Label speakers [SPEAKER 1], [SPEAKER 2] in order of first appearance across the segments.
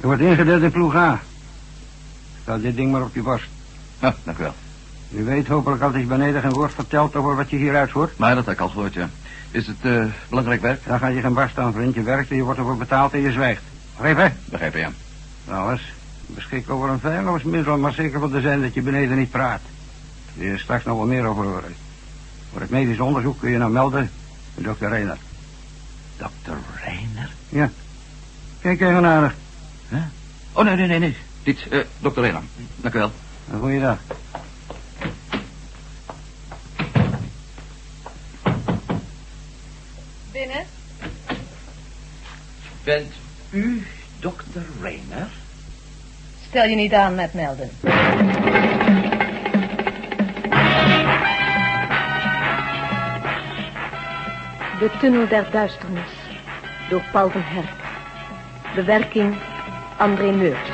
[SPEAKER 1] Wordt ingedeeld in ploeg A. Stel dit ding maar op je borst.
[SPEAKER 2] Nou,
[SPEAKER 3] Ja, dank u wel.
[SPEAKER 1] U weet hopelijk altijd beneden geen woord verteld over wat je hier uitvoert.
[SPEAKER 3] Maar dat heb ik al gehoord, ja. Is het eh, belangrijk werk?
[SPEAKER 1] Daar ga je geen barst aan, vriend. Je werkt en je wordt ervoor betaald en je zwijgt. Begrepen?
[SPEAKER 3] Begrijp je, ja.
[SPEAKER 1] Nou eens, beschik over een veiligheidsmiddel, maar zeker van te zijn dat je beneden niet praat. Wil je straks nog wel meer over horen. Voor het medisch onderzoek kun je nou melden bij dokter Reiner.
[SPEAKER 3] Dokter Reiner?
[SPEAKER 1] Ja. Kijk even naar
[SPEAKER 3] Huh? Oh, nee, nee, nee, nee. Dit, eh dokter Reiner. Dank u wel.
[SPEAKER 1] haar. Goeiedag.
[SPEAKER 4] Binnen.
[SPEAKER 3] Bent u dokter Reiner?
[SPEAKER 4] Stel je niet aan met melden.
[SPEAKER 5] De Tunnel der Duisternis door Paul van Herk. Bewerking André Meurs.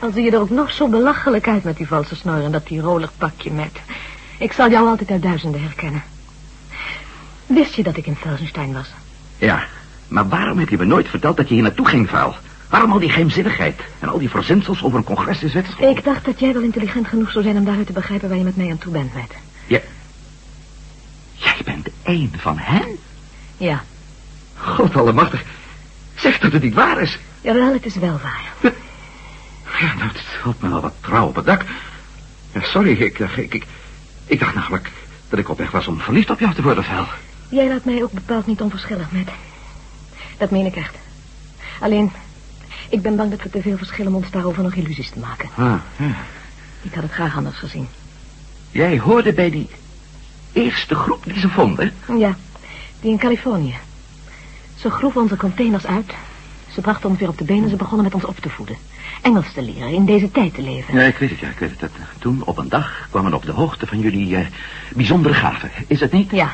[SPEAKER 5] Al zie je er ook nog zo belachelijk uit met die valse snor en dat rolig pakje met. Ik zal jou altijd uit duizenden herkennen. Wist je dat ik in Felsenstein was?
[SPEAKER 2] Ja, maar waarom heb je me nooit verteld dat je hier naartoe ging, vuil? Waarom al die geheimzinnigheid en al die verzinsels over een congres in Zwitserland?
[SPEAKER 5] Ik dacht dat jij wel intelligent genoeg zou zijn om daaruit te begrijpen waar je met mij aan toe bent, met.
[SPEAKER 2] Jij bent één van hen?
[SPEAKER 5] Ja,
[SPEAKER 2] God allemachtig. Zeg dat het niet waar is.
[SPEAKER 5] jawel, het is wel waar.
[SPEAKER 2] Ja, nou, het stelt me wel wat trouw op het dak. Ja, sorry, ik, eh, ik, ik, ik dacht namelijk dat ik op weg was om verliefd op jou te worden, vuil.
[SPEAKER 5] Jij laat mij ook bepaald niet onverschillig, met. Dat meen ik echt. Alleen, ik ben bang dat we te veel verschillen om ons daarover nog illusies te maken.
[SPEAKER 2] Ah, ja.
[SPEAKER 5] Ik had het graag anders gezien.
[SPEAKER 2] Jij hoorde bij die eerste groep die ze vonden.
[SPEAKER 5] Ja, die in Californië. Ze groeven onze containers uit. Ze brachten ons weer op de benen. Ze begonnen met ons op te voeden. Engels te leren, in deze tijd te leven.
[SPEAKER 2] Ja, ik weet het, ja, ik weet het. Dat, eh, Toen, op een dag, kwamen we op de hoogte van jullie eh, bijzondere gaven. Is het niet?
[SPEAKER 5] Ja,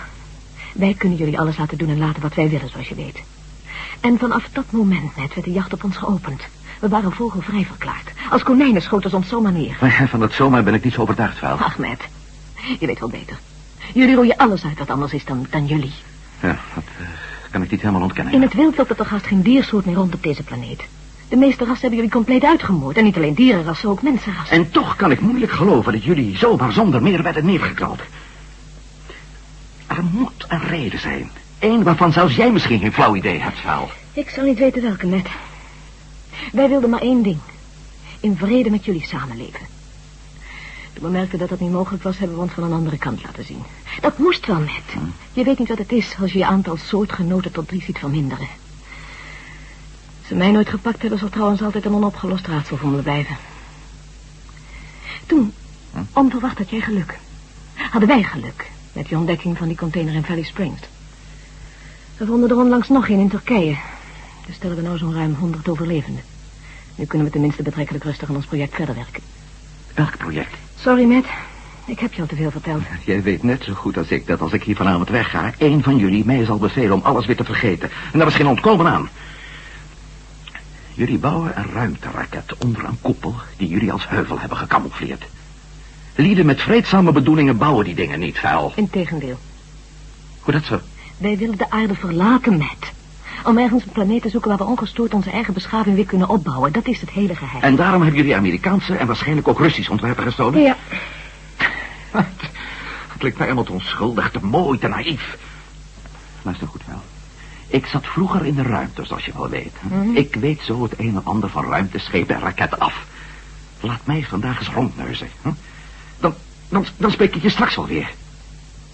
[SPEAKER 5] wij kunnen jullie alles laten doen en laten wat wij willen, zoals je weet. En vanaf dat moment net werd de jacht op ons geopend. We waren vogelvrij verklaard. Als konijnen schoten ze ons zomaar neer.
[SPEAKER 2] Maar eh, Van dat zomaar ben ik niet zo overtuigd, vuil.
[SPEAKER 5] Ach, Matt, je weet wel beter. Jullie rooien alles uit wat anders is dan, dan jullie.
[SPEAKER 2] Ja, dat eh, kan ik niet helemaal ontkennen.
[SPEAKER 5] In het wild loopt er toch haast geen diersoort meer rond op deze planeet. De meeste rassen hebben jullie compleet uitgemoord. En niet alleen dierenrassen, ook mensenrassen.
[SPEAKER 2] En toch kan ik moeilijk geloven dat jullie zomaar zonder meer werden neergeknald. Er moet een reden zijn. Eén waarvan zelfs jij misschien geen flauw idee hebt, Vaal.
[SPEAKER 5] Ik zou niet weten welke, Matt. Wij wilden maar één ding. In vrede met jullie samenleven. Toen we merkten dat dat niet mogelijk was, hebben we ons van een andere kant laten zien. Dat moest wel, Matt. Je weet niet wat het is als je je aantal soortgenoten tot drie ziet verminderen. Als ze mij nooit gepakt hebben, zal trouwens altijd een onopgelost raadsel voor me blijven. Toen, onverwacht had jij geluk. Hadden wij geluk met die ontdekking van die container in Valley Springs. We vonden er onlangs nog een in Turkije. Dus stellen we nou zo'n ruim honderd overlevenden. Nu kunnen we tenminste betrekkelijk rustig aan ons project verder werken.
[SPEAKER 2] Welk project?
[SPEAKER 5] Sorry, Matt. Ik heb je al te veel verteld.
[SPEAKER 2] Jij weet net zo goed als ik dat als ik hier vanavond wegga... één van jullie mij zal bevelen om alles weer te vergeten. En daar is geen ontkomen aan. Jullie bouwen een ruimteraket onder een koepel... die jullie als heuvel hebben gecamoufleerd. Lieden met vreedzame bedoelingen bouwen die dingen niet, vuil.
[SPEAKER 5] Integendeel.
[SPEAKER 2] Hoe dat zo?
[SPEAKER 5] Wij willen de aarde verlaten, Matt. Om ergens een planeet te zoeken waar we ongestoord onze eigen beschaving weer kunnen opbouwen. Dat is het hele geheim.
[SPEAKER 2] En daarom hebben jullie Amerikaanse en waarschijnlijk ook Russisch ontwerpen gestolen?
[SPEAKER 5] Ja,
[SPEAKER 2] Het klinkt mij helemaal te onschuldig, te mooi, te naïef. Luister goed wel. Ik zat vroeger in de ruimte, zoals je wel weet. Ik weet zo het een en ander van ruimteschepen en raketten af. Laat mij vandaag eens rondneuzen. Hm? Dan, dan, dan spreek ik je straks alweer.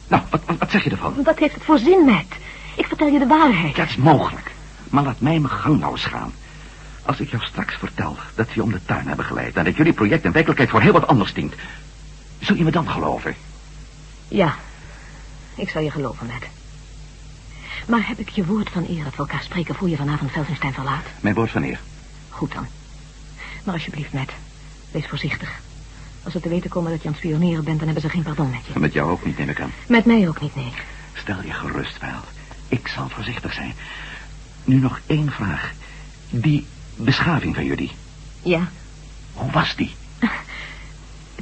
[SPEAKER 2] Nou, wat, wat, wat zeg je ervan?
[SPEAKER 5] wat heeft het voor zin, Matt? Ik vertel je de waarheid.
[SPEAKER 2] Dat is mogelijk. Maar laat mij mijn gang nou eens gaan. Als ik jou straks vertel dat we je om de tuin hebben geleid... en dat jullie project in werkelijkheid voor heel wat anders dient... zul je me dan geloven?
[SPEAKER 5] Ja, ik zal je geloven, Matt. Maar heb ik je woord van eer dat we elkaar spreken voor je vanavond Felsenstein verlaat?
[SPEAKER 2] Mijn woord van eer.
[SPEAKER 5] Goed dan. Maar alsjeblieft, Matt, wees voorzichtig. Als ze te weten komen dat je aan het spioneren bent, dan hebben ze geen pardon met je.
[SPEAKER 2] Met jou ook niet, neem ik aan.
[SPEAKER 5] Met mij ook niet, nee.
[SPEAKER 2] Stel je gerust wel. Ik zal voorzichtig zijn. Nu nog één vraag. Die beschaving van jullie,
[SPEAKER 5] Ja,
[SPEAKER 2] hoe was die?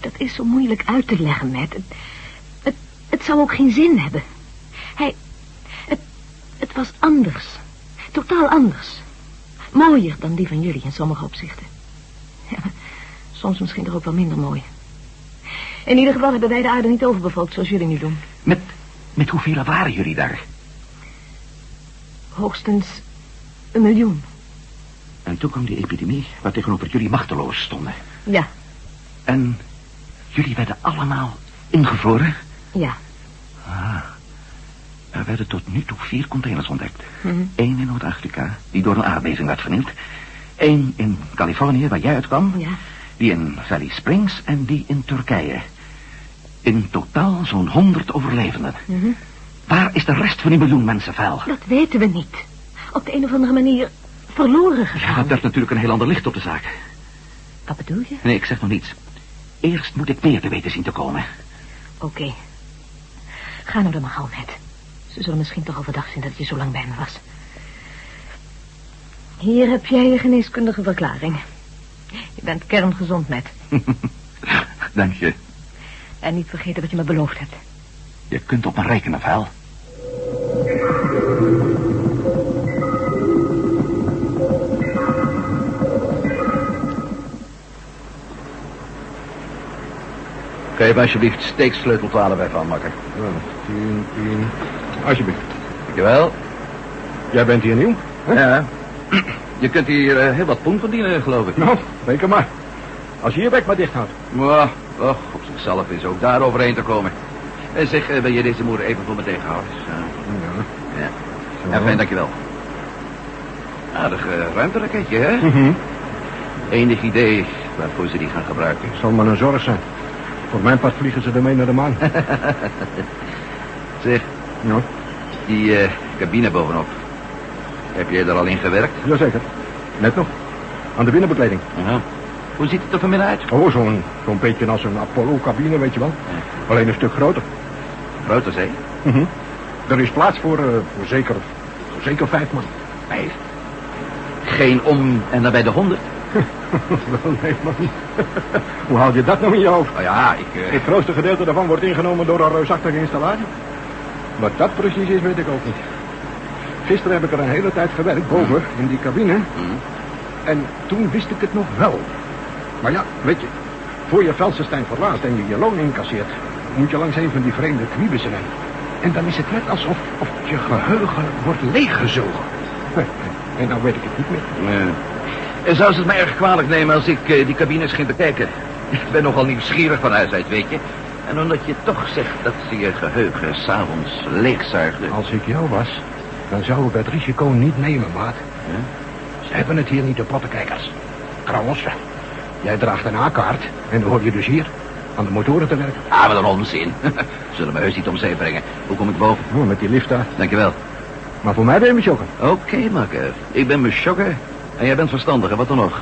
[SPEAKER 5] dat is zo moeilijk uit te leggen, Matt. Het, het, het zou ook geen zin hebben. Hij... Het, het was anders. Totaal anders. Mooier dan die van jullie in sommige opzichten. Ja, soms misschien toch ook wel minder mooi. In ieder geval hebben wij de aarde niet overbevolkt zoals jullie nu doen.
[SPEAKER 6] Met, met hoeveel waren jullie daar?
[SPEAKER 5] Hoogstens een miljoen.
[SPEAKER 6] En toen kwam die epidemie waar tegenover jullie machteloos stonden.
[SPEAKER 5] Ja,
[SPEAKER 6] En jullie werden allemaal ingevroren.
[SPEAKER 5] ja.
[SPEAKER 6] Er werden tot nu toe vier containers ontdekt.
[SPEAKER 5] Mhm.
[SPEAKER 6] Eén in Noord-Afrika, die door een aardbeving werd vernield. Eén in Californië, waar jij uitkwam.
[SPEAKER 5] Ja.
[SPEAKER 6] Die in Valley Springs en die in Turkije. In totaal zo'n honderd overlevenden.
[SPEAKER 5] Mhm.
[SPEAKER 6] Waar is de rest van die miljoen mensen vuil?
[SPEAKER 5] Dat weten we niet. Op de een of andere manier verloren
[SPEAKER 6] Ja,
[SPEAKER 5] gegaan.
[SPEAKER 6] dat werpt natuurlijk een heel ander licht op de zaak.
[SPEAKER 5] Wat bedoel je?
[SPEAKER 6] Nee, ik zeg nog niets. Eerst moet ik meer te weten zien te komen.
[SPEAKER 5] Oké. Ga nou dan maar gauw, Ned. Ze zullen misschien toch overdag zien dat je zo lang bij me was. Hier heb jij je geneeskundige verklaring. Je bent kerngezond, Ned.
[SPEAKER 6] Dank je.
[SPEAKER 5] En niet vergeten wat je me beloofd hebt.
[SPEAKER 6] Je kunt op me rekenen, vuil.
[SPEAKER 2] Geef alsjeblieft steeksleutel 12 even aan, makker.
[SPEAKER 1] Tien, tien. Alsjeblieft.
[SPEAKER 2] Dankjewel.
[SPEAKER 1] Jij bent hier nieuw?
[SPEAKER 2] Ja. Je kunt hier eh, heel wat poen verdienen, geloof ik.
[SPEAKER 1] Nou, reken maar. Als je je bek maar dicht houdt.
[SPEAKER 2] Maar, och, op zichzelf is ook daar overheen te komen. En zeg, eh, wil je deze moeder even voor me tegenhouden? Zo.
[SPEAKER 1] Ja.
[SPEAKER 2] Ja.
[SPEAKER 1] Zo.
[SPEAKER 2] Ja, fijn, dankjewel. Aardig eh, ruimteraketje, hè?
[SPEAKER 1] Mhm.
[SPEAKER 2] Enig idee waarvoor ze die gaan gebruiken.
[SPEAKER 1] Zal maar een zorg zijn. Voor mijn part vliegen ze ermee naar de maan.
[SPEAKER 2] Zeg,
[SPEAKER 1] Ja,
[SPEAKER 2] die eh, cabine bovenop. Heb jij er al in gewerkt?
[SPEAKER 1] jazeker. Net nog. Aan de binnenbekleding.
[SPEAKER 2] Hoe ziet het er vanmiddag uit?
[SPEAKER 1] Oh, zo'n zo'n beetje als een Apollo-cabine, weet je wel. Alleen een stuk groter.
[SPEAKER 2] Groot als hè?
[SPEAKER 1] Mhm. Er is plaats voor, eh, voor zeker, voor zeker vijf man.
[SPEAKER 2] Vijf. Geen om en dan bij de honderd.
[SPEAKER 1] Wel, nee, man. Hoe haal je dat nou in je hoofd?
[SPEAKER 2] Oh ja, ik... eh,
[SPEAKER 1] Het grootste gedeelte daarvan wordt ingenomen door een reusachtige installatie. Wat dat precies is, weet ik ook niet. Gisteren heb ik er een hele tijd gewerkt, boven, in die cabine.
[SPEAKER 2] hm.
[SPEAKER 1] En toen wist ik het nog wel. Maar ja, weet je, voor je Velsenstein verlaat en je je loon incasseert, moet je langs een van die vreemde kniebissen rennen. En dan is het net alsof of je geheugen wordt leeggezogen. En dan weet ik het niet meer.
[SPEAKER 2] Nee. En Eh, zou ze het mij erg kwalijk nemen als ik eh, die cabines ging bekijken? Ik ben nogal nieuwsgierig van huis uit, weet je. En omdat je toch zegt dat ze je geheugen s'avonds leegzuigde.
[SPEAKER 1] Als ik jou was, dan zou ik dat risico niet nemen, maat. Ze hebben het hier niet, de pottenkijkers. Trouwens, jij draagt een A-kaart en dan hoor je dus hier aan de motoren te werken.
[SPEAKER 2] Ah, wat een onzin. Zullen me heus niet om zee brengen. Hoe kom ik boven?
[SPEAKER 1] Oh, met die lift daar.
[SPEAKER 2] Dankjewel.
[SPEAKER 1] Maar voor mij ben je met jokken.
[SPEAKER 2] Oké, makker. Ik ben Meshokker en jij bent verstandig. En wat dan nog?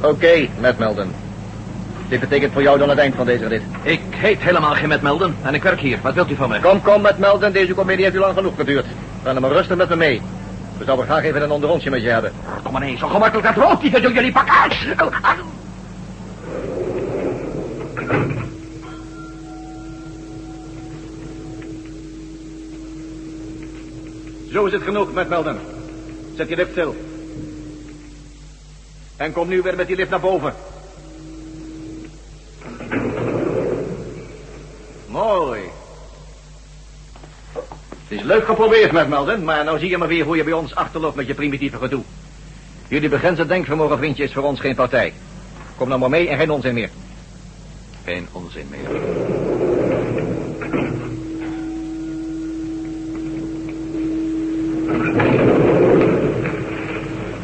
[SPEAKER 7] Oké, Matt Melden. Dit betekent voor jou dan het eind van deze rit.
[SPEAKER 2] Ik heet helemaal geen Matt Melden en ik werk hier. Wat wilt u van mij?
[SPEAKER 7] Kom, kom, Matt Melden. Deze komedie heeft u lang genoeg geduurd. Ga dan maar rustig met me mee. We zouden graag even een onderrondje met je hebben.
[SPEAKER 2] Kom maar eens, zo gemakkelijk dat rood niet. Dat doen jullie pakken.
[SPEAKER 7] Zo is het genoeg, Matt Melden. Zet je lift stil. En kom nu weer met die lift naar boven. Mooi. Het is leuk geprobeerd, Matt Melden, maar nou zie je maar weer hoe je bij ons achterloopt met je primitieve gedoe. Jullie begrensde denkvermogen, vriendje, is voor ons geen partij. Kom nou maar mee en geen onzin meer.
[SPEAKER 2] Geen onzin meer.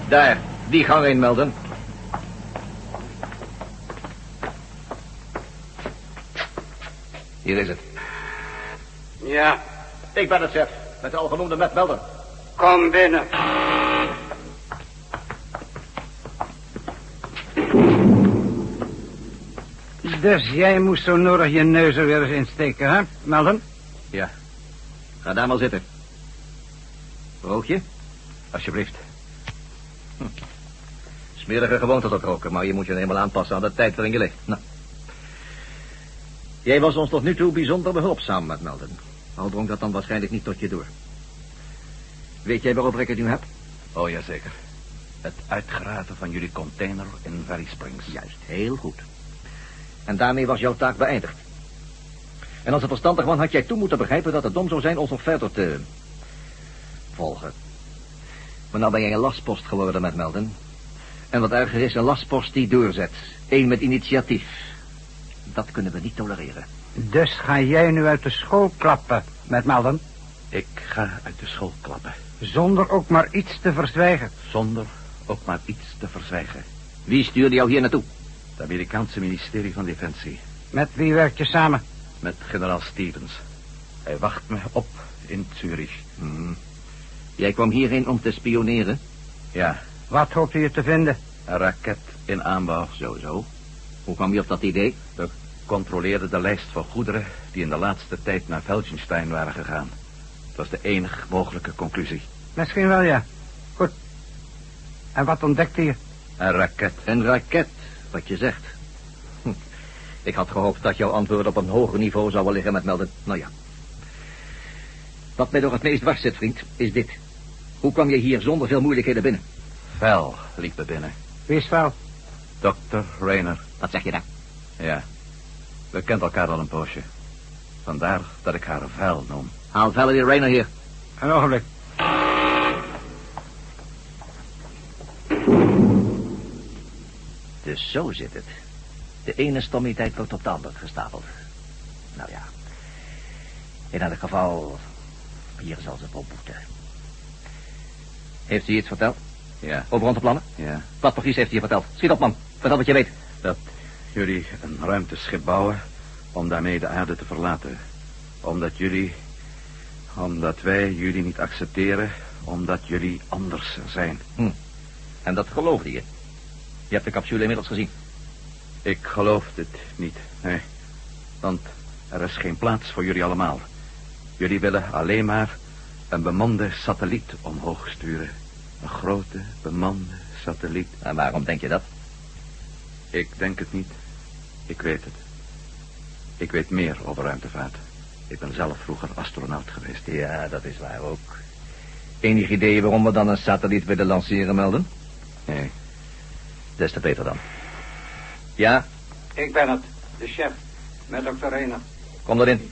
[SPEAKER 7] Daar, die gang in, Melden.
[SPEAKER 2] Hier is het.
[SPEAKER 8] Ja,
[SPEAKER 7] Ik ben het, chef. Met de algenoemde Matt Melden.
[SPEAKER 8] kom binnen. Dus jij moest zo nodig je neus er weer eens insteken, hè, Melden?
[SPEAKER 7] Ga daar maar zitten. Rook je?
[SPEAKER 9] Alsjeblieft. Hm. Smerige gewoonte dat roken, maar je moet je eenmaal aanpassen aan de tijd waarin je leeft. Nou. Jij was ons tot nu toe bijzonder behulpzaam met Melden. Al drong dat dan waarschijnlijk niet tot je door. Weet jij waarop ik het nu heb?
[SPEAKER 2] Oh, jazeker. Het uitgraven van jullie container in Valley Springs.
[SPEAKER 9] Juist, heel goed. En daarmee was jouw taak beëindigd. En als een verstandig man had jij toen moeten begrijpen dat het dom zou zijn ons nog verder te... volgen. Maar nou ben jij een lastpost geworden met Melden. En wat erger is, een lastpost die doorzet. Eén met initiatief. Dat kunnen we niet tolereren.
[SPEAKER 1] Dus ga jij nu uit de school klappen met Malden?
[SPEAKER 2] Ik ga uit de school klappen.
[SPEAKER 1] Zonder ook maar iets te verzwijgen.
[SPEAKER 2] Zonder ook maar iets te verzwijgen.
[SPEAKER 9] Wie stuurde jou hier naartoe?
[SPEAKER 2] Het Amerikaanse ministerie van Defensie.
[SPEAKER 1] Met wie werk je samen?
[SPEAKER 2] Met generaal Stevens. Hij wacht me op in Zurich. Mhm.
[SPEAKER 9] Hm. Jij kwam hierheen om te spioneren?
[SPEAKER 2] Ja,
[SPEAKER 1] Wat hoopte je te vinden?
[SPEAKER 2] een raket in aanbouw.
[SPEAKER 9] Sowieso. Hoe kwam je op dat idee?
[SPEAKER 2] We controleerden de lijst van goederen die in de laatste tijd naar Felsenstein waren gegaan. Het was de enige mogelijke conclusie.
[SPEAKER 1] Misschien wel, ja. Goed. En wat ontdekte je?
[SPEAKER 2] Een raket.
[SPEAKER 9] Een raket, wat je zegt. Hm. Ik had gehoopt dat jouw antwoord op een hoger niveau zou liggen met Melden. Nou ja. Wat mij nog het meest dwars zit, vriend, is dit. Hoe kwam je hier zonder veel moeilijkheden binnen?
[SPEAKER 2] Vel liep me binnen.
[SPEAKER 1] Wie is wel?
[SPEAKER 2] Dr. Rayner.
[SPEAKER 9] Wat zeg je daar?
[SPEAKER 2] Ja. We kent elkaar al een poosje. Vandaar dat ik haar vuil noem.
[SPEAKER 9] Haal Valerie Rayner hier.
[SPEAKER 1] Een ogenblik.
[SPEAKER 9] Dus zo zit het. De ene stommiteit wordt op de andere gestapeld. Nou ja. In elk geval, hier zal ze voor boeten. Heeft u iets verteld
[SPEAKER 2] Ja,
[SPEAKER 9] over onze plannen?
[SPEAKER 2] ja.
[SPEAKER 9] Wat precies heeft hij je verteld? Schiet op, man. Vertel wat je weet.
[SPEAKER 2] Dat jullie een ruimteschip bouwen om daarmee de aarde te verlaten. Omdat jullie... Omdat wij jullie niet accepteren, omdat jullie anders zijn.
[SPEAKER 9] Hm. En dat geloofde je. Je hebt de capsule inmiddels gezien.
[SPEAKER 2] Ik geloof het niet, nee. Want er is geen plaats voor jullie allemaal. Jullie willen alleen maar een bemande satelliet omhoog sturen. Een grote, bemande satelliet.
[SPEAKER 9] En waarom denk je dat?
[SPEAKER 2] Ik denk het niet. Ik weet het. Ik weet meer over ruimtevaart. Ik ben zelf vroeger astronaut geweest.
[SPEAKER 9] Ja, dat is waar ook. Enig idee waarom we dan een satelliet willen lanceren, Melden?
[SPEAKER 2] Nee.
[SPEAKER 9] Des te beter dan. Ja,
[SPEAKER 1] Ik ben het, de chef, met dokter Reiner.
[SPEAKER 9] kom erin.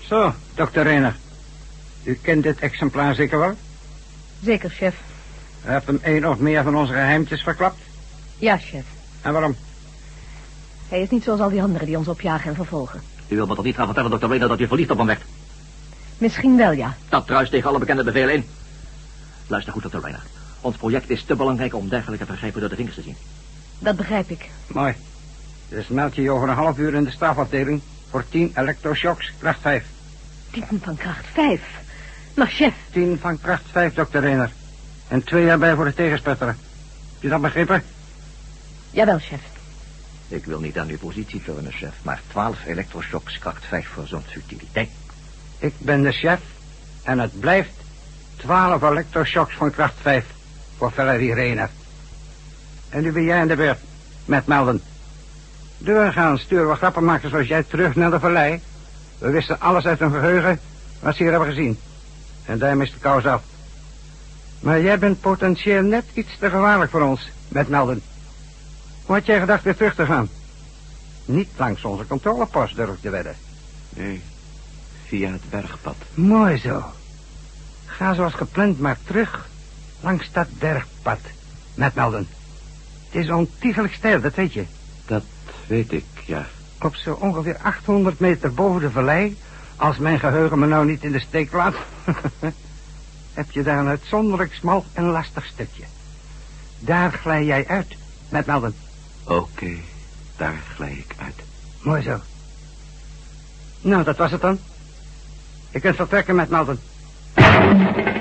[SPEAKER 1] Zo, dokter Reiner. U kent dit exemplaar zeker wel?
[SPEAKER 4] Zeker, chef.
[SPEAKER 1] U hebt hem één of meer van onze geheimtjes verklapt.
[SPEAKER 4] Ja, chef.
[SPEAKER 1] En waarom?
[SPEAKER 5] Hij is niet zoals al die anderen die ons opjagen en vervolgen.
[SPEAKER 9] U wilt me toch niet gaan vertellen, dokter Rayner, dat u verliefd op hem werd?
[SPEAKER 5] Misschien wel, ja.
[SPEAKER 9] Dat druist tegen alle bekende bevelen in. Luister goed, dokter Rayner. Ons project is te belangrijk om dergelijke vergrijpen door de vingers te zien.
[SPEAKER 5] Dat begrijp ik.
[SPEAKER 1] Mooi. Dus meld je je over een half uur in de strafafdeling voor 10 electroshocks, kracht 5.
[SPEAKER 5] Tieten van kracht vijf. Maar chef,
[SPEAKER 1] 10 van kracht 5, dokter Reiner. En twee jaar bij voor het tegenspetteren. Heb je dat begrepen?
[SPEAKER 5] jawel, chef.
[SPEAKER 9] Ik wil niet aan uw positie vullen, chef, maar twaalf elektroshocks kracht vijf voor zo'n futiliteit.
[SPEAKER 1] Ik ben de chef en het blijft 12 electroshocks van kracht 5 voor Valerie Reiner. En nu ben jij aan de beurt met melden. Doorgaan sturen we grappenmakers zoals jij terug naar de vallei. We wisten alles uit hun geheugen wat ze hier hebben gezien. En daarmee is de kous af. Maar jij bent potentieel net iets te gevaarlijk voor ons met melden. Hoe had jij gedacht weer terug te gaan? Niet langs onze controlepost durf ik te wedden.
[SPEAKER 2] Nee. Via het bergpad.
[SPEAKER 1] Mooi zo. Ga zoals gepland maar terug langs dat bergpad met Melden. Het is ontiegelijk steil, dat weet je.
[SPEAKER 2] Dat weet ik, ja.
[SPEAKER 1] Op zo ongeveer 800 meter boven de vallei... als mijn geheugen me nou niet in de steek laat... heb je daar een uitzonderlijk smal en lastig stukje. Daar glij jij uit met Melden.
[SPEAKER 2] Oké, daar glij ik uit.
[SPEAKER 1] Mooi zo. Nou, dat was het dan. Je kunt vertrekken met Melden.